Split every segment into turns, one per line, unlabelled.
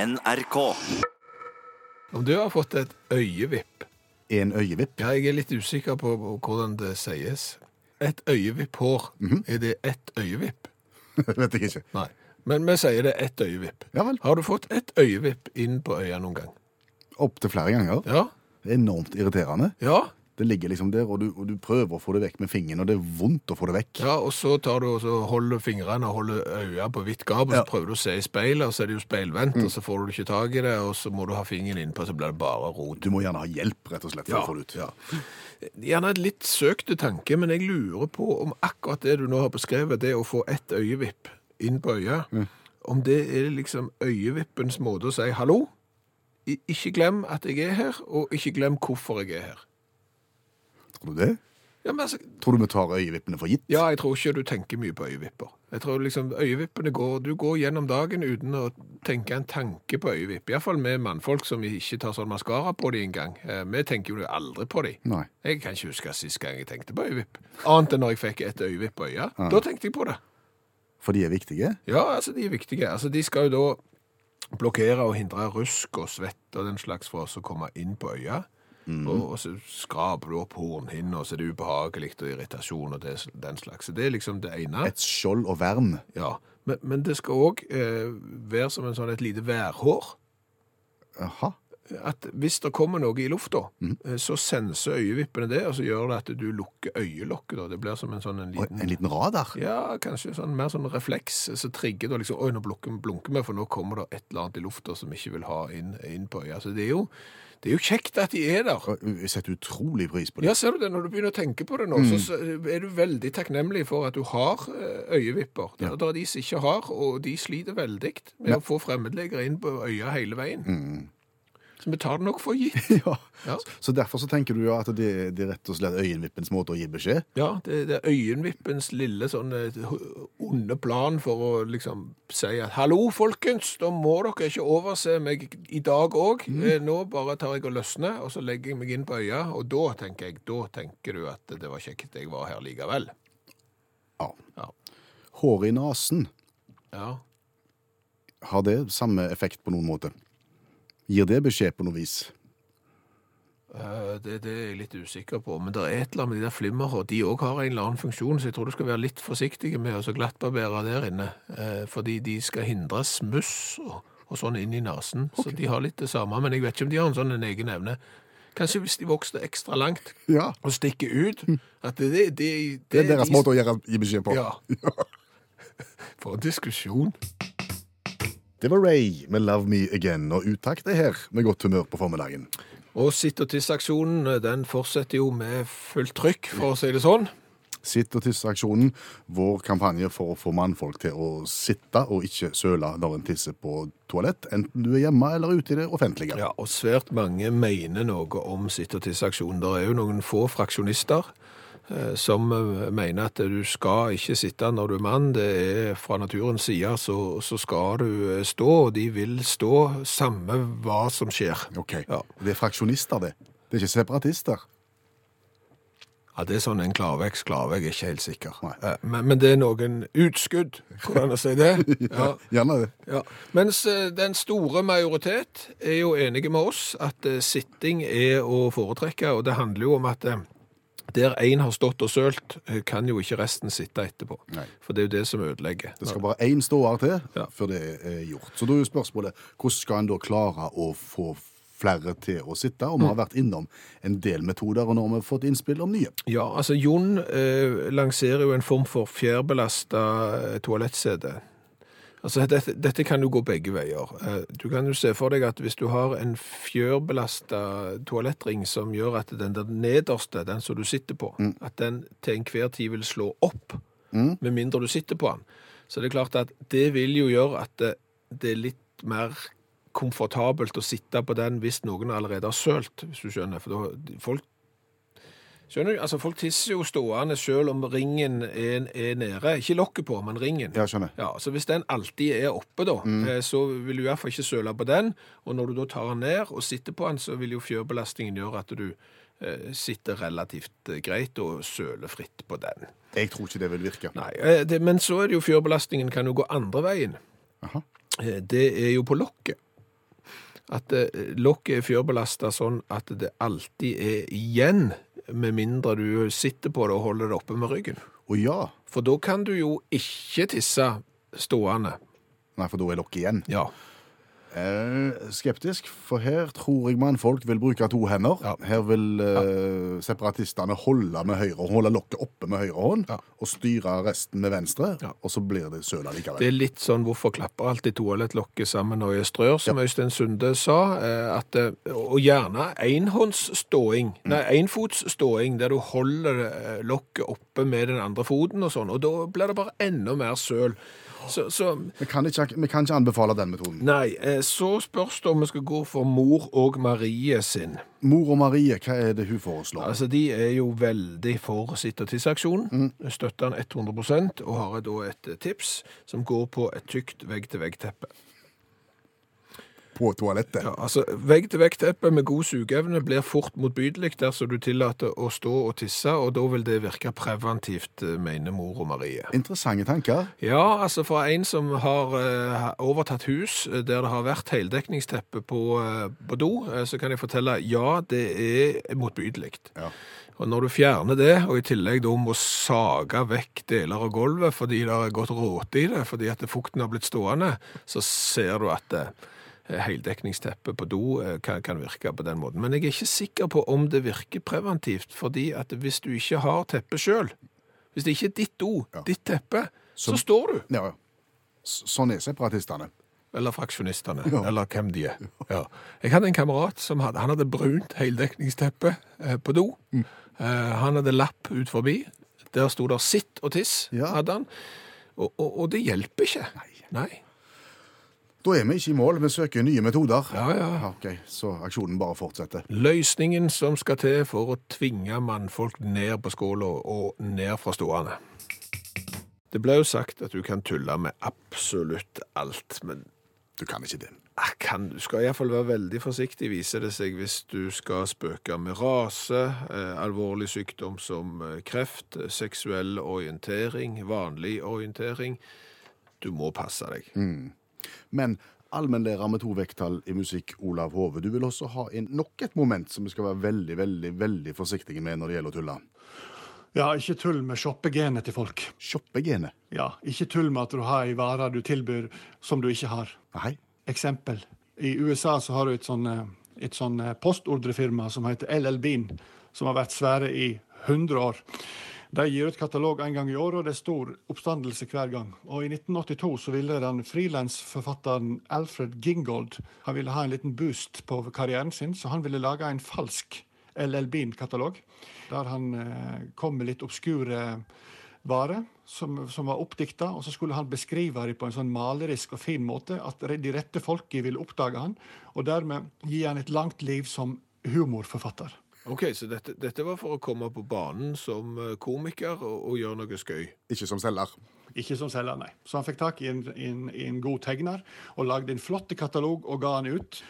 NRK.
Om du har fått et øyevipp
En øyevipp.
Ja, jeg er litt usikker på hvordan det sies. Et øyevipp-hår. Er det ett øyevipp?
Vet jeg ikke.
Nei. Men vi sier det er ett øyevipp.
Ja vel.
Har du fått ett øyevipp inn på øya noen gang?
Opptil flere ganger.
Ja?
Enormt irriterende.
Ja?
Det ligger liksom der, og du, og du prøver å få det vekk med fingeren, og det er vondt å få det vekk.
Ja, og så tar du og så holder fingrene og holder øya på vidt gap, og så
Ja.
prøver du å se i speilet, og så er det jo speilvendt, og så får du ikke tak i det, og så må du ha fingeren innpå, så blir det bare rot.
Du må gjerne ha hjelp, rett og slett, for
Ja,
å få det ut.
Gjerne et litt søkte tanke, men jeg lurer på om akkurat det du nå har beskrevet, det å få ett øyevipp inn på øya, om det er liksom øyevippens måte å si hallo, i- ikke glem at jeg er her, og ikke glem hvorfor jeg er her.
Tror du det?
Ja, men altså,
Tror du vi tar øyevippene for gitt?
ja, jeg tror ikke du tenker mye på øyevipper. Jeg tror liksom øyevippene går, du går gjennom dagen uten å tenke en tanke på øyevipp. I hvert fall med mannfolk som ikke tar sånn mascara på de engang. Eh, Vi tenker jo aldri på de.
Nei.
Jeg kan ikke huske sist gang jeg tenkte på øyevipp. Annet enn når jeg fikk et øyevipp på øya. Da tenkte jeg på det.
For de er viktige?
Ja, altså, de er viktige. Altså, de skal jo da blokkere og hindre rusk og svett og den slags for oss å komme inn på øya. Og, og så skraper du opp hornhinna, og så er det ubehagelig og irritasjon og det, den slags. Så det er liksom det ene.
Et skjold og vern.
Ja. Men, men det skal òg eh, være som en sånn et lite værhår.
Jaha.
At hvis det kommer noe i lufta, eh, så senser øyevippene det, og så gjør det at du lukker øyelokket. da. Det blir som en sånn en
Og
liten
En liten radar.
Ja, kanskje sånn, mer sånn refleks. Så trigger det liksom Oi, nå blunker, blunker vi, for nå kommer det et eller annet i lufta som vi ikke vil ha inn, inn på øya. Så det er, jo, det er jo kjekt at de er der.
Og Jeg setter utrolig pris på det.
Ja, ser du det, når du begynner å tenke på det nå, så så er du veldig takknemlig for at du har eh, øyevipper. Det, det er de som ikke har, og de sliter veldig med å få fremmedlegere inn på øya hele veien. Så vi tar det nok for gitt.
Mm. Ja.
Ja.
Så derfor så tenker du ja, at det, det er rett og slett øyenvippens måte å gi beskjed?
Ja, det, det er øyenvippens lille sånn eh, onde plan for å liksom si at hallo, folkens, da må dere ikke overse meg i dag òg. Nå bare tar jeg og løsner, og så legger jeg meg inn på øya, og da tenker jeg, da tenker du at det var kjekt jeg var her likevel.
Ja.
Ja.
Håret i nesen,
ja.
har det samme effekt på noen måte? Gir det beskjed på noe vis?
Eh, Det, det er jeg litt usikker på, men det er et eller annet med de der flimmerhår. De òg har en eller annen funksjon, så jeg tror du skal være litt forsiktig med å så glattbarbere der inne. eh, Fordi de skal hindre smuss og, og sånn inn i nesen. Så de har litt det samme, men jeg vet ikke om de har en sånn en egen evne. Kanskje hvis de vokste ekstra langt
Ja.
og stikker ut. At det, det, det,
Mm. Det er deres
de-
måte å gjøre, gi beskjed på.
Ja. For en diskusjon.
Det var Ray med Love Me Again, og utakt er her med godt humør på formiddagen.
Og sitt og tiss-aksjonen den fortsetter jo med fullt trykk, for å si det sånn.
Sitt og tisse-aksjonen, vår kampanje for å få mannfolk til å sitte og ikke søle når en tisser på toalett, enten du er hjemme eller ute i det offentlige.
Ja, og svært mange mener noe om sitt og tiss-aksjonen. Det er jo noen få fraksjonister eh, som eh, mener at du skal ikke sitte når du er mann. Det er fra naturens side, så, så skal du eh, stå, og de vil stå samme hva som skjer.
Ok,
Ja.
det er fraksjonister det. Det er ikke separatister.
Ja, det er sånn en klarvegg, klarvegg, jeg er ikke helt sikker.
Nei.
Eh, Men, men det er noen utskudd, hvordan å si det? Ja.
Gjerne det.
Ja. Mens eh, den store majoritet er jo enige med oss at eh, sitting er å foretrekke, og det handler jo om at eh, der én har stått og sølt, eh, kan jo ikke resten sitte etterpå.
Nei.
For det er jo det som ødelegger.
Det skal bare én ståer til
Ja.
før det er gjort. Så da er jo spørsmålet hvordan skal en da klare å få flere til å sitte? Og vi
Mm.
har vært innom en del metoder, og nå har vi fått innspill om nye.
Ja, altså Jon eh, lanserer jo en form for fjærbelasta eh, toalettsete. Altså, dette, dette kan jo gå begge veier. Eh, Du kan jo se for deg at hvis du har en fjørbelasta toalettring som gjør at den der nederste, den som du sitter på, at den til enhver tid vil slå opp, med mindre du sitter på den, så det er klart at det vil jo gjøre at det, det er litt mer komfortabelt å sitte på den hvis noen allerede har sølt, hvis du skjønner. For da, folk Skjønner du? Altså, Folk tisser jo stående selv om ringen er, er nede. Ikke lokket på, men ringen.
Ja, skjønner.
Ja, så Hvis den alltid er oppe, da, eh, så vil du i hvert fall ikke søle på den. Og når du da tar den ned og sitter på den, så vil jo fjørbelastningen gjøre at du eh, sitter relativt eh, greit og søler fritt på den.
Jeg tror ikke det vil virke.
Nei, eh, det, Men så er det jo fjørbelastningen kan jo gå andre veien.
Aha.
Eh, det er jo på lokket. At eh, lokket er fjørbelastet sånn at det alltid er igjen, med mindre du sitter på det og holder det oppe med ryggen.
Å ja.
For da kan du jo ikke tisse stående.
Nei, for da er lokket igjen.
Ja.
Eh, skeptisk, for her tror jeg mannfolk vil bruke to hender.
Ja.
Her vil eh, separatistene holde med høyre hånd, holde lokket oppe med høyre hånd,
Ja.
og styre resten med venstre,
Ja.
og så blir det søla
Det
likevel.
er litt sånn hvorfor klapper alltid toalettlokket sammen når jeg strør, som Øystein Sunde sa. eh, At, eh, og gjerne enhåndsståing, nei, enfotsståing, der du holder eh, lokket oppe med den andre foten og sånn. Og da blir det bare enda mer søl. Så, så
Vi kan, ikke, vi kan ikke anbefale den metoden.
nei, eh, så spørs det om vi skal gå for mor og Marie sin.
Mor og Marie, hva er det hun foreslår?
Altså, De er jo veldig for sitt og tiss-aksjonen. Støtter den 100 og har da et eh, tips som går på et tykt vegg-til-vegg-teppe.
På toalettet.
Ja, altså, Vegg-til-vegg-teppet med god sugeevne blir fort motbydelig dersom du tillater å stå og tisse, og da vil det virke preventivt, eh, mener mor og Marie.
Interessante tanker.
Ja, altså for en som har eh, overtatt hus eh, der det har vært heldekningsteppe på, eh, på do, eh, så kan jeg fortelle ja, det er motbydelig.
Ja.
Og når du fjerner det, og i tillegg da må sage vekk deler av gulvet fordi det har gått råte i det, fordi at fukten har blitt stående, så ser du at eh, heldekningsteppet på do eh, kan, kan virke på den måten. Men jeg er ikke sikker på om det virker preventivt, fordi at hvis du ikke har teppe sjøl, hvis det ikke er ditt do,
Ja.
ditt teppe, så,
Så-
står du.
Ja. S- Sånn er separatistene.
Eller fraksjonistene,
Ja.
eller hvem de er. Ja. Jeg hadde en kamerat som hadde, han hadde brunt heldekningsteppe eh, på do.
Mm.
Eh, han hadde lapp ut forbi. Der sto der 'sitt og tiss',
Ja.
hadde han. Og, og, og det hjelper ikke. Nei.
Da er vi ikke i mål, vi søker nye metoder.
Ja, ja.
Ok, Så aksjonen bare fortsetter.
Løsningen som skal til for å tvinge mannfolk ned på skåla og ned fra stående. Det ble jo sagt at du kan tulle med absolutt alt, men
Du kan ikke det.
Ah, Kan, du skal iallfall være veldig forsiktig, viser det seg, hvis du skal spøke med rase, eh, alvorlig sykdom som eh, kreft, eh, seksuell orientering, vanlig orientering. Du må passe deg.
Men allmennlærer med to vekttall i musikk, Olav Hove, du vil også ha inn nok et moment som vi skal være veldig, veldig veldig forsiktige med når det gjelder å tulle.
Ja, ikke tull med shoppegenet til folk.
Shoppegenet.
Ja, ikke tull med at du har ei vare du tilbyr som du ikke har.
Nei.
Eksempel. I USA så har du et sånn, eh, et sånn eh, postordrefirma som heter LL Bean, som har vært svære i 100 år. De gir ut katalog en gang i året, og det er stor oppstandelse hver gang. Og I 1982 så ville den frilansforfatteren Alfred Gingold han ville ha en liten boost på karrieren sin, så han ville lage en falsk LL Bean-katalog, der han eh, kom med litt obskure varer som, som var oppdikta, og så skulle han beskrive dem på en sånn malerisk og fin måte, at de rette folka ville oppdage han, og dermed gi han et langt liv som humorforfatter.
OK, så dette, dette var for å komme på banen som eh, komiker og, og gjøre noe skøy.
Ikke som selger.
Ikke som selger, nei. Så han fikk tak i en, en, en god tegner og lagde en flott katalog og ga han ut.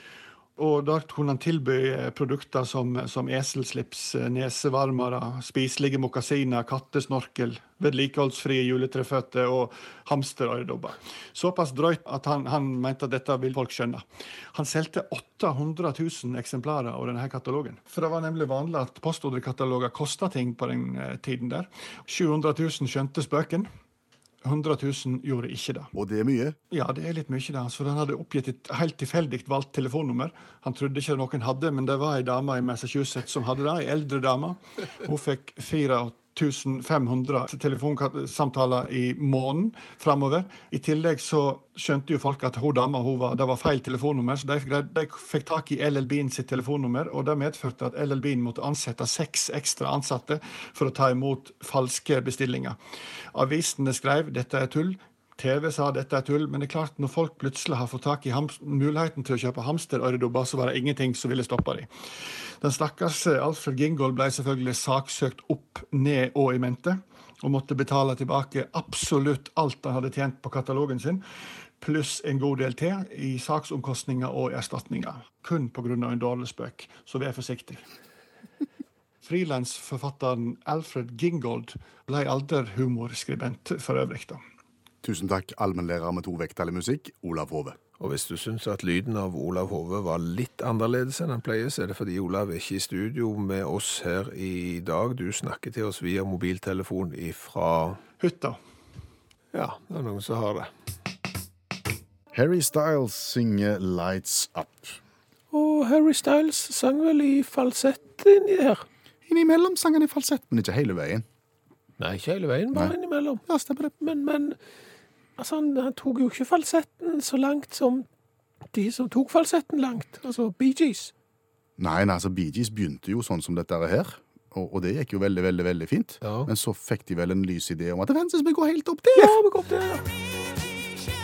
Og da kunne han tilby eh, produkter som, som eselslips, eh, nesevarmere, spiselige mokasiner, kattesnorkel, vedlikeholdsfrie juletreføtter og hamsterøredobber. Såpass drøyt at han, han mente at dette vil folk skjønne. Han solgte 800 000 eksemplarer av denne katalogen. For det var nemlig vanlig at postordrekataloger kosta ting på den eh, tiden der. 700 000 skjønte spøken. 100 000 gjorde ikke det.
Og det er mye.
Ja, det er litt mye, det. Så han hadde oppgitt et helt tilfeldig valgt telefonnummer. Han trodde ikke noen hadde, men det var ei dame i Massachusetts som hadde det. Ei eldre dame. Hun fikk 4500 telefonsamtaler i måneden framover. I tillegg så skjønte jo folk at hun dama hun var, det var feil telefonnummer, så de fikk, de fikk tak i LL Bean sitt telefonnummer, og det medførte at LL Bean måtte ansette seks ekstra ansatte for å ta imot falske bestillinger. Avisene skrev 'dette er tull'. TV sa dette er tull, men det er klart når folk plutselig har fått tak i hams- muligheten til å kjøpe hamsterøredobber, så var det ingenting som ville stoppe dem. Den stakkars eh, Alfred Gingold ble selvfølgelig saksøkt opp, ned og i mente, og måtte betale tilbake absolutt alt han hadde tjent på katalogen sin, pluss en god del til i saksomkostninger og erstatninger. Kun pga. en dårlig spøk, så vær forsiktig. Frilansforfatteren Alfred Gingold ble aldri humorskribent for øvrig, da.
Tusen takk, allmennlærer med to vekttall i musikk, Olav Hove.
Og hvis du syns at lyden av Olav Hove var litt annerledes enn han pleier, så er det fordi Olav er ikke i studio med oss her i dag. Du snakker til oss via mobiltelefon ifra
Hytta.
Ja, det er noen som har det.
Harry Styles synger 'Lights Up'.
Og Harry Styles sang vel i falsett inni her?
Innimellom sang han i falsett, men ikke hele veien.
Nei, ikke hele veien, bare
Nei.
innimellom.
Ja, stemmer det.
Men, men altså, han, han tok jo ikke falsetten så langt som de som tok falsetten langt, altså Bee Gees.
Nei, nei, altså Bee Gees begynte jo sånn som dette her, og, og det gikk jo veldig, veldig, veldig fint.
Ja.
Men så fikk de vel en lys idé om at «Vent, så skal vi gå helt opp der!
Ja, vi kom til det.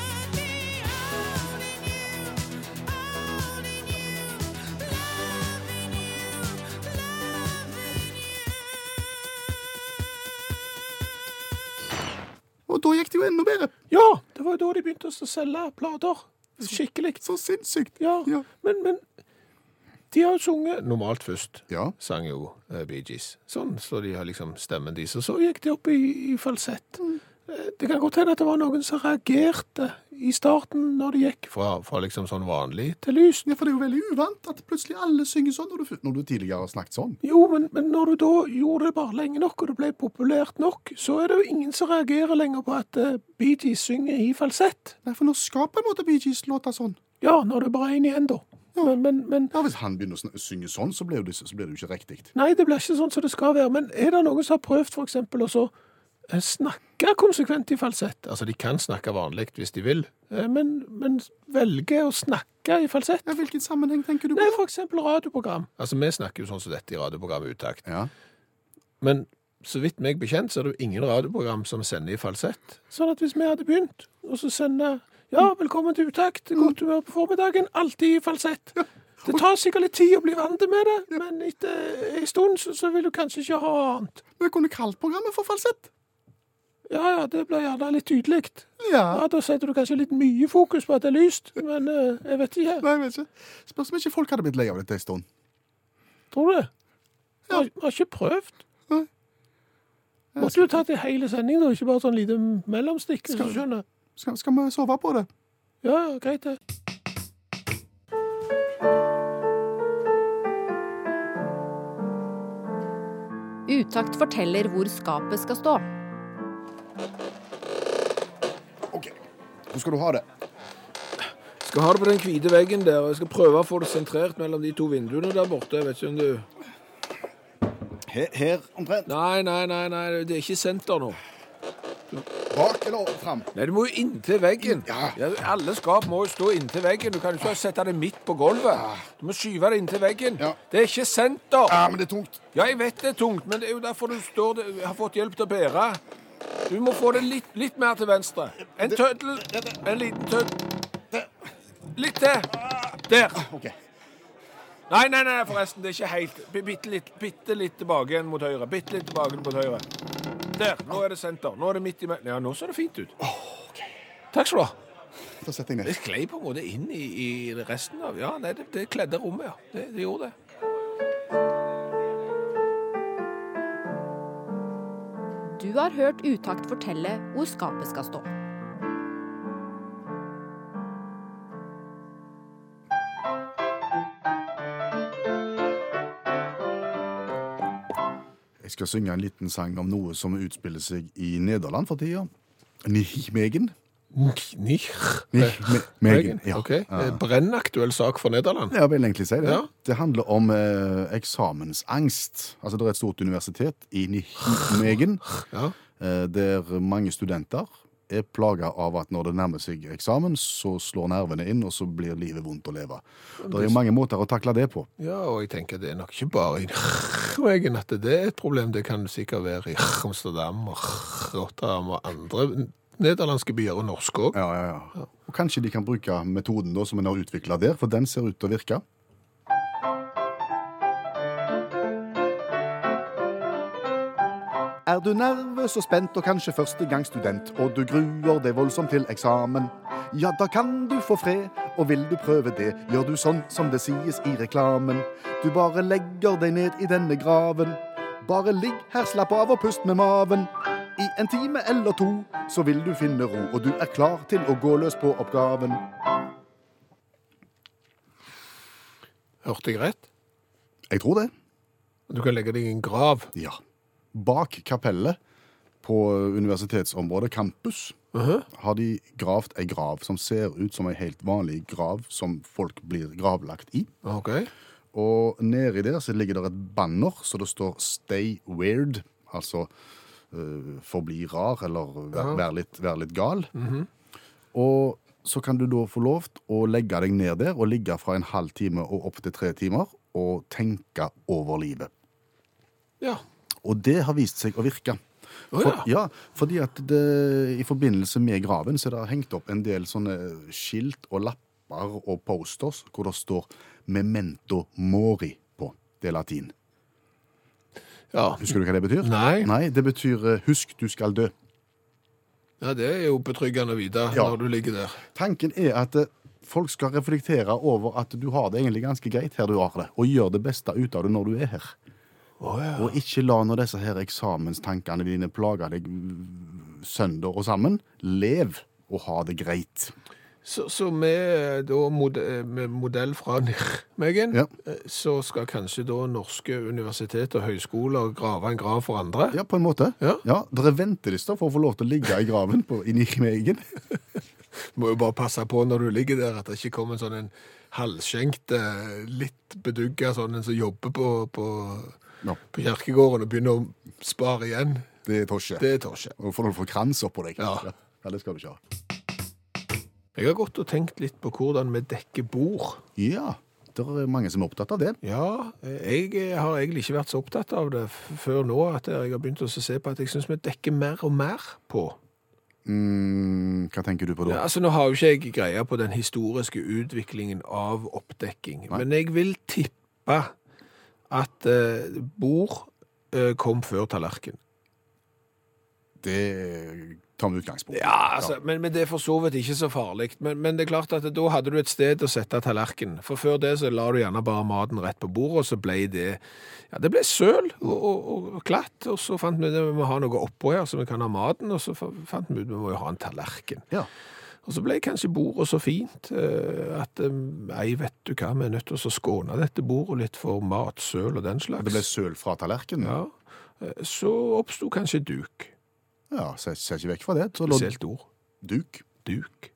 Og da gikk det jo enda bedre.
Ja, det var jo da de begynte å selge plater. Skikkelig.
Så sinnssykt.
Ja,
Ja.
men, men de har jo sunget normalt først.
Ja.
Sang jo eh, Bee Gees. Sånn, så de har liksom stemmen deres. Og så gikk de opp i, i falsett. Eh, Det kan godt hende at det var noen som reagerte i starten når de gikk fra, fra liksom sånn vanlig til lyst.
Ja, for det er jo veldig uvant at plutselig alle synger sånn når du, når du tidligere har snakket sånn.
Jo, men, men når du da gjorde det bare lenge nok, og det ble populært nok, så er det jo ingen som reagerer lenger på at eh, Bee Gees synger i falsett.
Nei, for nå skal på en måte Bee Gees låte sånn.
Ja, når det er bare én igjen, da. Men, men, men
Ja, Hvis han begynner å sn- synge sånn, så blir det, så blir det jo ikke riktig.
Nei, det blir ikke sånn som det skal være. Men er det noen som har prøvd f.eks. å så, eh, snakke konsekvent i falsett? Altså, de kan snakke vanlig hvis de vil, eh, men, men velger å snakke i falsett?
Ja, Hvilken sammenheng tenker du
Nei, f.eks. radioprogram. Altså, Vi snakker jo sånn som dette i radioprogrammet Utakt.
Ja,
Men så vidt meg bekjent, så er det jo ingen radioprogram som sender i falsett. Sånn at hvis vi hadde begynt, og så sende Ja, velkommen til Utakt. Godt humør på formiddagen. Alltid i falsett. Det tar sikkert litt tid å bli vant med det, men etter en stund så, så vil du kanskje ikke ha annet.
Vi kunne kalt programmet for falsett.
Ja, ja, det blir gjerne litt tydelig.
Ja.
Ja, Da setter du kanskje litt mye fokus på at det er lyst, men eh, jeg vet ikke.
Nei, jeg vet ikke. Spørs om ikke folk hadde blitt lei av dette en stund.
Tror du det? Vi har, vi har ikke prøvd.
Nei.
Måtte jo tatt en hel sending, da, ikke bare sånn lite mellomstikk. hvis du skjønner.
Skal, skal vi sove på det?
Ja, ja, greit det.
Utakt forteller hvor skapet skal stå.
OK. Hvor skal du ha det?
Skal ha det på den hvite veggen der, og jeg skal prøve å få det sentrert mellom de to vinduene der borte. Jeg vet ikke om du
Her, her omtrent.
Nei, nei, nei, nei, det er ikke senter nå.
Bak eller fram?
Nei, Du må jo inntil veggen.
Ja.
Alle skap må jo stå inntil veggen. Du kan jo ikke sette det midt på gulvet. Du må skyve det inntil veggen.
Ja.
Det er ikke senter.
Ja, men det er tungt.
Ja, jeg vet det er tungt, men det er jo derfor du står, der- har fått hjelp til å bære. Du må få det litt, litt mer til venstre. En tøddel, en liten tøddel. Litt til. Der.
OK.
Nei, nei, nei, forresten, det er ikke helt. B- Bitte litt, bitte litt tilbake igjen mot høyre. Bitte litt tilbake mot høyre. Der, nå er det senter. Nå er det midt i mellom. Ja, nå ser det fint ut. Takk skal du ha.
Da setter
Det
jeg ned.
sklei på en måte inn i, i resten av Ja, nei, det, det kledde rommet, ja. Det, det gjorde det.
Du har hørt Utakt fortelle hvor skapet skal stå.
Jeg skal synge en liten sang om noe som utspiller seg i Nederland for tida. Nijmegen.
Nich. Eh,
Nijmegen. Ja.
Brennaktuell sak for Nederland.
Ja, jeg vil egentlig si det.
Ja.
Det handler om eh, eksamensangst. Altså, det er et stort universitet i Nijmegen
Ja.
eh, der mange studenter er plaga av at når det nærmer seg eksamen, så slår nervene inn, og så blir livet vondt å leve. Det er jo mange måter å takle det på.
Ja, og jeg tenker det er nok ikke bare i Norge at det er et problem. Det kan sikkert være i Amsterdam og Rotterdam og andre nederlandske byer, og norske òg.
Ja, ja, ja. Og kanskje de kan bruke metoden da, som en har utvikla der, for den ser ut til å virke. Er du nervøs og spent og kanskje førstegangsstudent, og du gruer deg voldsomt til eksamen, ja, da kan du få fred, og vil du prøve det, gjør du sånn som det sies i reklamen. Du bare legger deg ned i denne graven. Bare ligg her, slapp av og pust med maven. I en time eller to så vil du finne ro, og du er klar til å gå løs på oppgaven.
Hørte jeg rett?
Jeg tror det.
Du kan legge deg i en grav.
Ja. Bak kapellet på universitetsområdet campus
Mhm.
har de gravd ei grav som ser ut som ei helt vanlig grav som folk blir gravlagt i.
OK.
Og nedi der så ligger det et banner, så det står 'Stay weird'. Altså eh, forbli rar, eller vær, vær, litt, vær litt gal. Og så kan du da få lov til å legge deg ned der og ligge fra en halv time og opp til tre timer og tenke over livet.
Ja.
Og det har vist seg å virke.
Å,
For, ja, fordi at det, I forbindelse med graven så er det hengt opp en del sånne skilt og lapper og posters hvor det står 'Memento mori' på. Det er latin.
ja.
Husker du hva det betyr?
Nei.
Nei, Det betyr eh, 'husk du skal dø'.
ja, det er jo betryggende å vite
Ja.
når du ligger der.
Tanken er at eh, folk skal reflektere over at du har det egentlig ganske greit her du har det, og gjør det beste ut av det når du er her. Og ikke la nå disse her eksamenstankene dine plage deg mm, søndag og sammen. Lev og ha det greit.
Så, så med, eh, da, mod, med modell fra Nirmegen,
Ja.
så skal kanskje da norske universitet og høyskoler grave en grav for andre?
Ja, på en måte.
Ja.
Dere ventelister for å få lov til å ligge i graven på, inni egen.
Må jo bare passe på når du ligger der, at det ikke kommer en sånn en halvskjenkt, eh, litt bedugga sånn en som jobber på, på,
Ja.
på kirkegården og begynner å spare igjen.
Det tar ikke.
Det tar ikke.
Og får noen få kranser på deg.
Ja.
ja, det skal du ikke ha.
Jeg har gått og tenkt litt på hvordan vi dekker bord.
Ja, det er mange som er opptatt av det.
Ja, jeg eh, har egentlig ikke vært så opptatt av det f- før nå, at jeg har begynt å se på at jeg syns vi dekker mer og mer på.
Mm, hva tenker du på
Ja,
da?
altså Nå har jo ikke jeg greie på den historiske utviklingen av oppdekking, men jeg vil tippe at eh, bord eh, kom før tallerken.
Det tar vi utgangspunkt i.
Ja, altså, Men, men det er for så vidt ikke så farlig. Men, men det er klart at da hadde du et sted å sette tallerken. For før det så la du gjerne bare maten rett på bordet, og så ble det ja, det ble søl og, og, og glatt. Og så fant vi ut at vi må ha noe oppå her, så vi kan ha maten. Og så fa- fant vi ut at vi må jo ha en tallerken.
Ja.
Og så ble kanskje bordet så fint eh, at eh, Nei, vet du hva, vi er nødt til å skåne dette bordet litt for matsøl og den slags.
Det ble søl fra tallerkenen. Ja,
Ja. Eh, Så oppsto kanskje duk.
ser, ser ikke vekk fra det. Så la du
Spesielt ord.
duk.
Duk.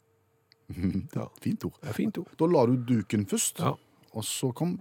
Ja,
Fint ord.
det er fint ord.
Da la du duken først,
Ja.
og så kom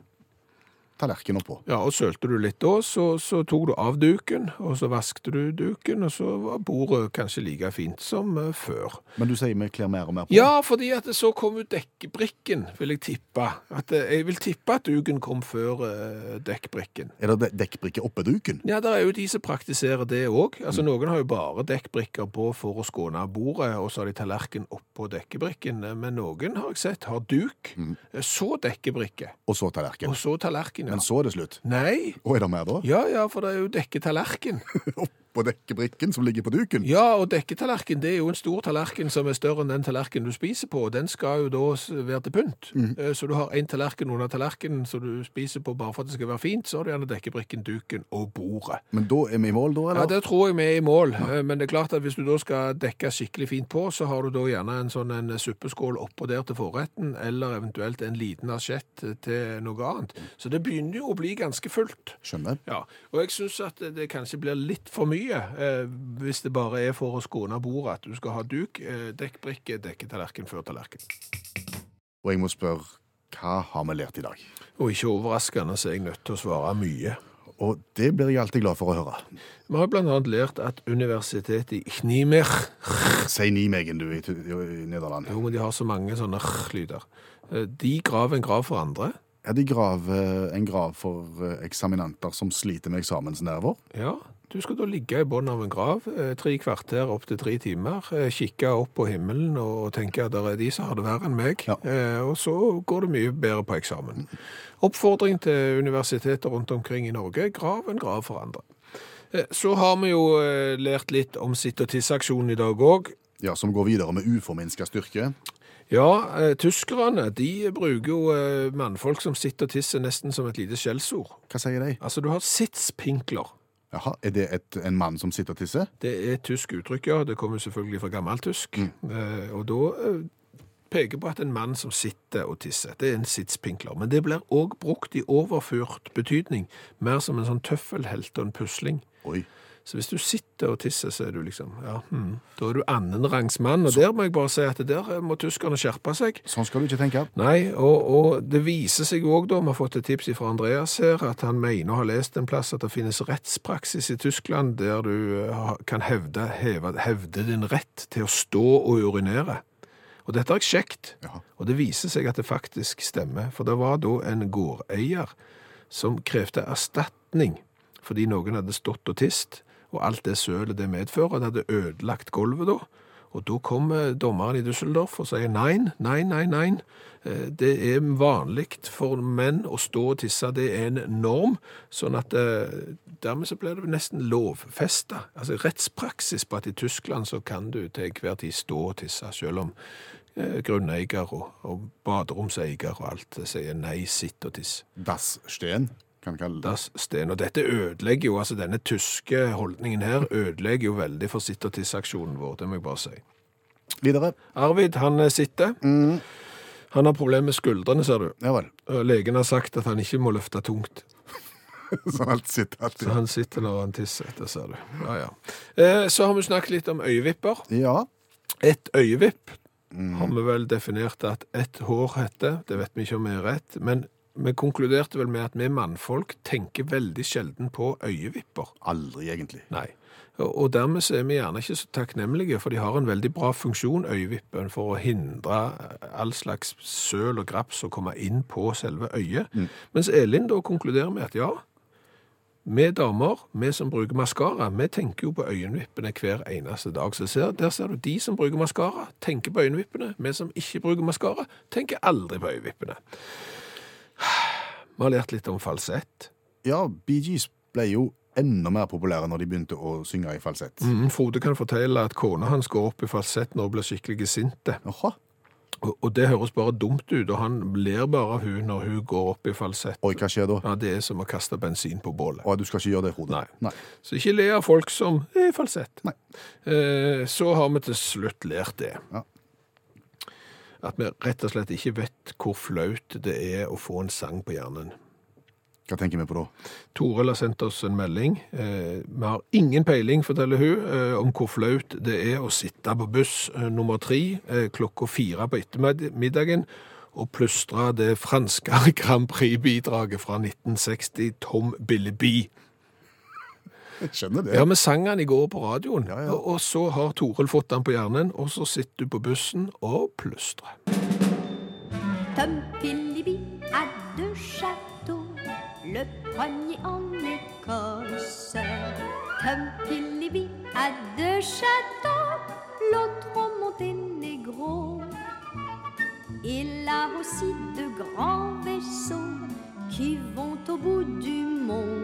tallerkenen oppå.
Ja, og sølte du litt da, så, så tok du av duken, og så vaskte du duken, og så var bordet kanskje like fint som eh, før.
Men du sier vi kler mer og mer på.
Ja, fordi at det så kom jo dekkbrikken, vil jeg tippe. At, eh, jeg vil tippe at duken kom før eh, dekkbrikken.
Er det de- dekkbrikke oppå duken?
Ja, det er jo de som praktiserer det òg. Altså,
Mm.
Noen har jo bare dekkbrikker på for å skåne bordet, og så har de tallerken oppå dekkebrikken. Men noen har jeg sett har duk,
Mm.
eh, så dekkebrikke,
Og så tallerken.
og så tallerken. Ja.
Men så er det slutt.
Nei.
Og er det mer da?
Ja, ja, for det er jo dekketallerken.
Oppå dekkebrikken som ligger på duken?
Ja, og dekketallerken det er jo en stor tallerken som er større enn den tallerken du spiser på, og den skal jo da s- være til pynt. Eh, Så du har en tallerken under tallerkenen som du spiser på bare for at det skal være fint, så har du gjerne dekkebrikken, duken og bordet.
Men da er vi i mål, da?
Ja,
eller?
det tror jeg vi er i mål, Eh, men det er klart at hvis du da skal dekke skikkelig fint på, så har du da gjerne en sånn en suppeskål oppå der til forretten, eller eventuelt en liten asjett til noe annet. Så det begynner jo å bli ganske fullt.
Skjønner.
Ja, og jeg syns at det kanskje blir litt for mye eh, hvis det bare er for å skåne bordet at du skal ha duk, eh, dekkbrikke, dekketallerken før tallerken.
Og jeg må spørre, hva har vi lært i dag?
Og ikke overraskende så er jeg nødt til å svare mye.
Og det blir jeg alltid glad for å høre.
Vi har blant annet lært at universitetet i Knimer
Si Nijmegen, du, i, Tu- i Nederland.
Jo, men de har så mange sånne r-lyder. Eh, De graver en grav for andre.
Ja, de graver en grav for eh, eksaminanter som sliter med eksamensnerver.
Ja, du skal da ligge i bånn av en grav, eh, tre kvarter opp til tre timer, eh, kikke opp på himmelen og tenke at det er de som har det verre enn meg,
Ja.
Eh, og så går det mye bedre på eksamen. Oppfordring til universiteter rundt omkring i Norge, grav en grav for andre. Eh, Så har vi jo eh, lært litt om sitt- og tisseaksjonen i dag òg.
Ja, som går videre med uforminska styrke.
Ja, eh, tyskerne de bruker jo eh, mannfolk som sitter og tisser nesten som et lite skjellsord.
Hva sier de?
Altså, du har sittspinkler.
Jaha, Er det et, en mann som sitter og tisser?
Det er et tysk uttrykk, ja. Det kommer selvfølgelig fra gammeltysk. Eh, og da eh, peker på at en mann som sitter og tisser, det er en sittspinkler. Men det blir òg brukt i overført betydning, mer som en sånn tøffelhelt og en pusling.
Oi.
Så hvis du sitter og tisser, så er du liksom ja, hmm, Da er du annenrangs mann. Og der må jeg bare si at det der må tyskerne skjerpe seg.
Sånn skal du ikke tenke.
Nei, og, og det viser seg òg, da, vi har fått et tips fra Andreas her, at han mener å ha lest en plass at det finnes rettspraksis i Tyskland der du eh, ha- kan hevde, heve, hevde din rett til å stå og urinere. Og dette har jeg sjekket,
Jaha.
og det viser seg at det faktisk stemmer. For det var da en gårdeier som krevde erstatning fordi noen hadde stått og tist, og alt det sølet det medfører. Det hadde ødelagt gulvet da. Og da kom eh, dommeren i Düsseldorf og sier nei, nei, nei, nei. Eh, Det er vanlig for menn å stå og tisse, det er en norm. Sånn at eh, dermed så ble det nesten lovfesta. Altså rettspraksis på at i Tyskland så kan du til enhver tid stå og tisse, selv om eh, grunneier og, og baderomseier og alt eh, sier nei, sitt og tiss.
Das Steen, kan vi kalle det.
Das Steen. Og dette ødelegger jo, altså denne tyske holdningen her ødelegger jo veldig for sitt og tiss-aksjonen vår, det må jeg bare si.
Videre.
Arvid, han eh, sitter. Han har problemer med skuldrene, ser du.
Ja vel.
Og Legen har sagt at han ikke må løfte tungt.
Sånn alt sitter
Så
alltid.
han sitter når han tisser etter, ser du. Ja, ja. Eh, Så har vi snakket litt om øyevipper.
Ja.
Et øyevipp har vi vel definert at et hår heter. Det vet vi ikke om er rett. Men vi konkluderte vel med at vi mannfolk tenker veldig sjelden på øyevipper.
Aldri, egentlig.
Nei. Og og dermed så er vi gjerne ikke så takknemlige, for de har en veldig bra funksjon, øyevippen, for å hindre all slags søl og graps å komme inn på selve øyet. Mens Elin da konkluderer med at ja, vi damer, vi som bruker maskara, vi tenker jo på øyenvippene hver eneste dag. Så ser, der ser du de som bruker maskara, tenker på øyenvippene. Vi som ikke bruker maskara, tenker aldri på øyevippene. Vi har lært litt om falsett.
Ja, Bee Gees ble jo enda mer populære når de begynte å synge i falsett.
Mm, Frode kan fortelle at kona hans går opp i falsett når hun blir skikkelig sinte.
Jaha.
Og, og det høres bare dumt ut, og han ler bare av hun når hun går opp i falsett.
Oi, hva skjer da?
Ja, det er som å kaste bensin på bålet.
Å, du skal ikke gjøre det, Frode.
Nei. Så ikke le av folk som er i falsett.
Nei.
Eh, så har vi til slutt lært det.
Ja.
At vi rett og slett ikke vet hvor flaut det er å få en sang på hjernen.
Hva tenker vi på da?
Toril har sendt oss en melding. Eh, vi har ingen peiling, forteller hun, eh, om hvor flaut det er å sitte på buss eh, nummer tre eh, klokka fire på ettermiddagen og plystre det franske Grand Prix-bidraget fra 1960, Tom Billeby.
Jeg skjønner det.
Ja, vi sang den i går på radioen,
Ja, ja.
Og, og så har Toril fått den på hjernen, og så sitter du på bussen og plystrer.
Tom Philliby a deux châteaux, le premier en Écosse. Tom Philliby a deux châteaux, l'autre en Monténégro. Il a aussi de grands vaisseaux qui vont au bout du monde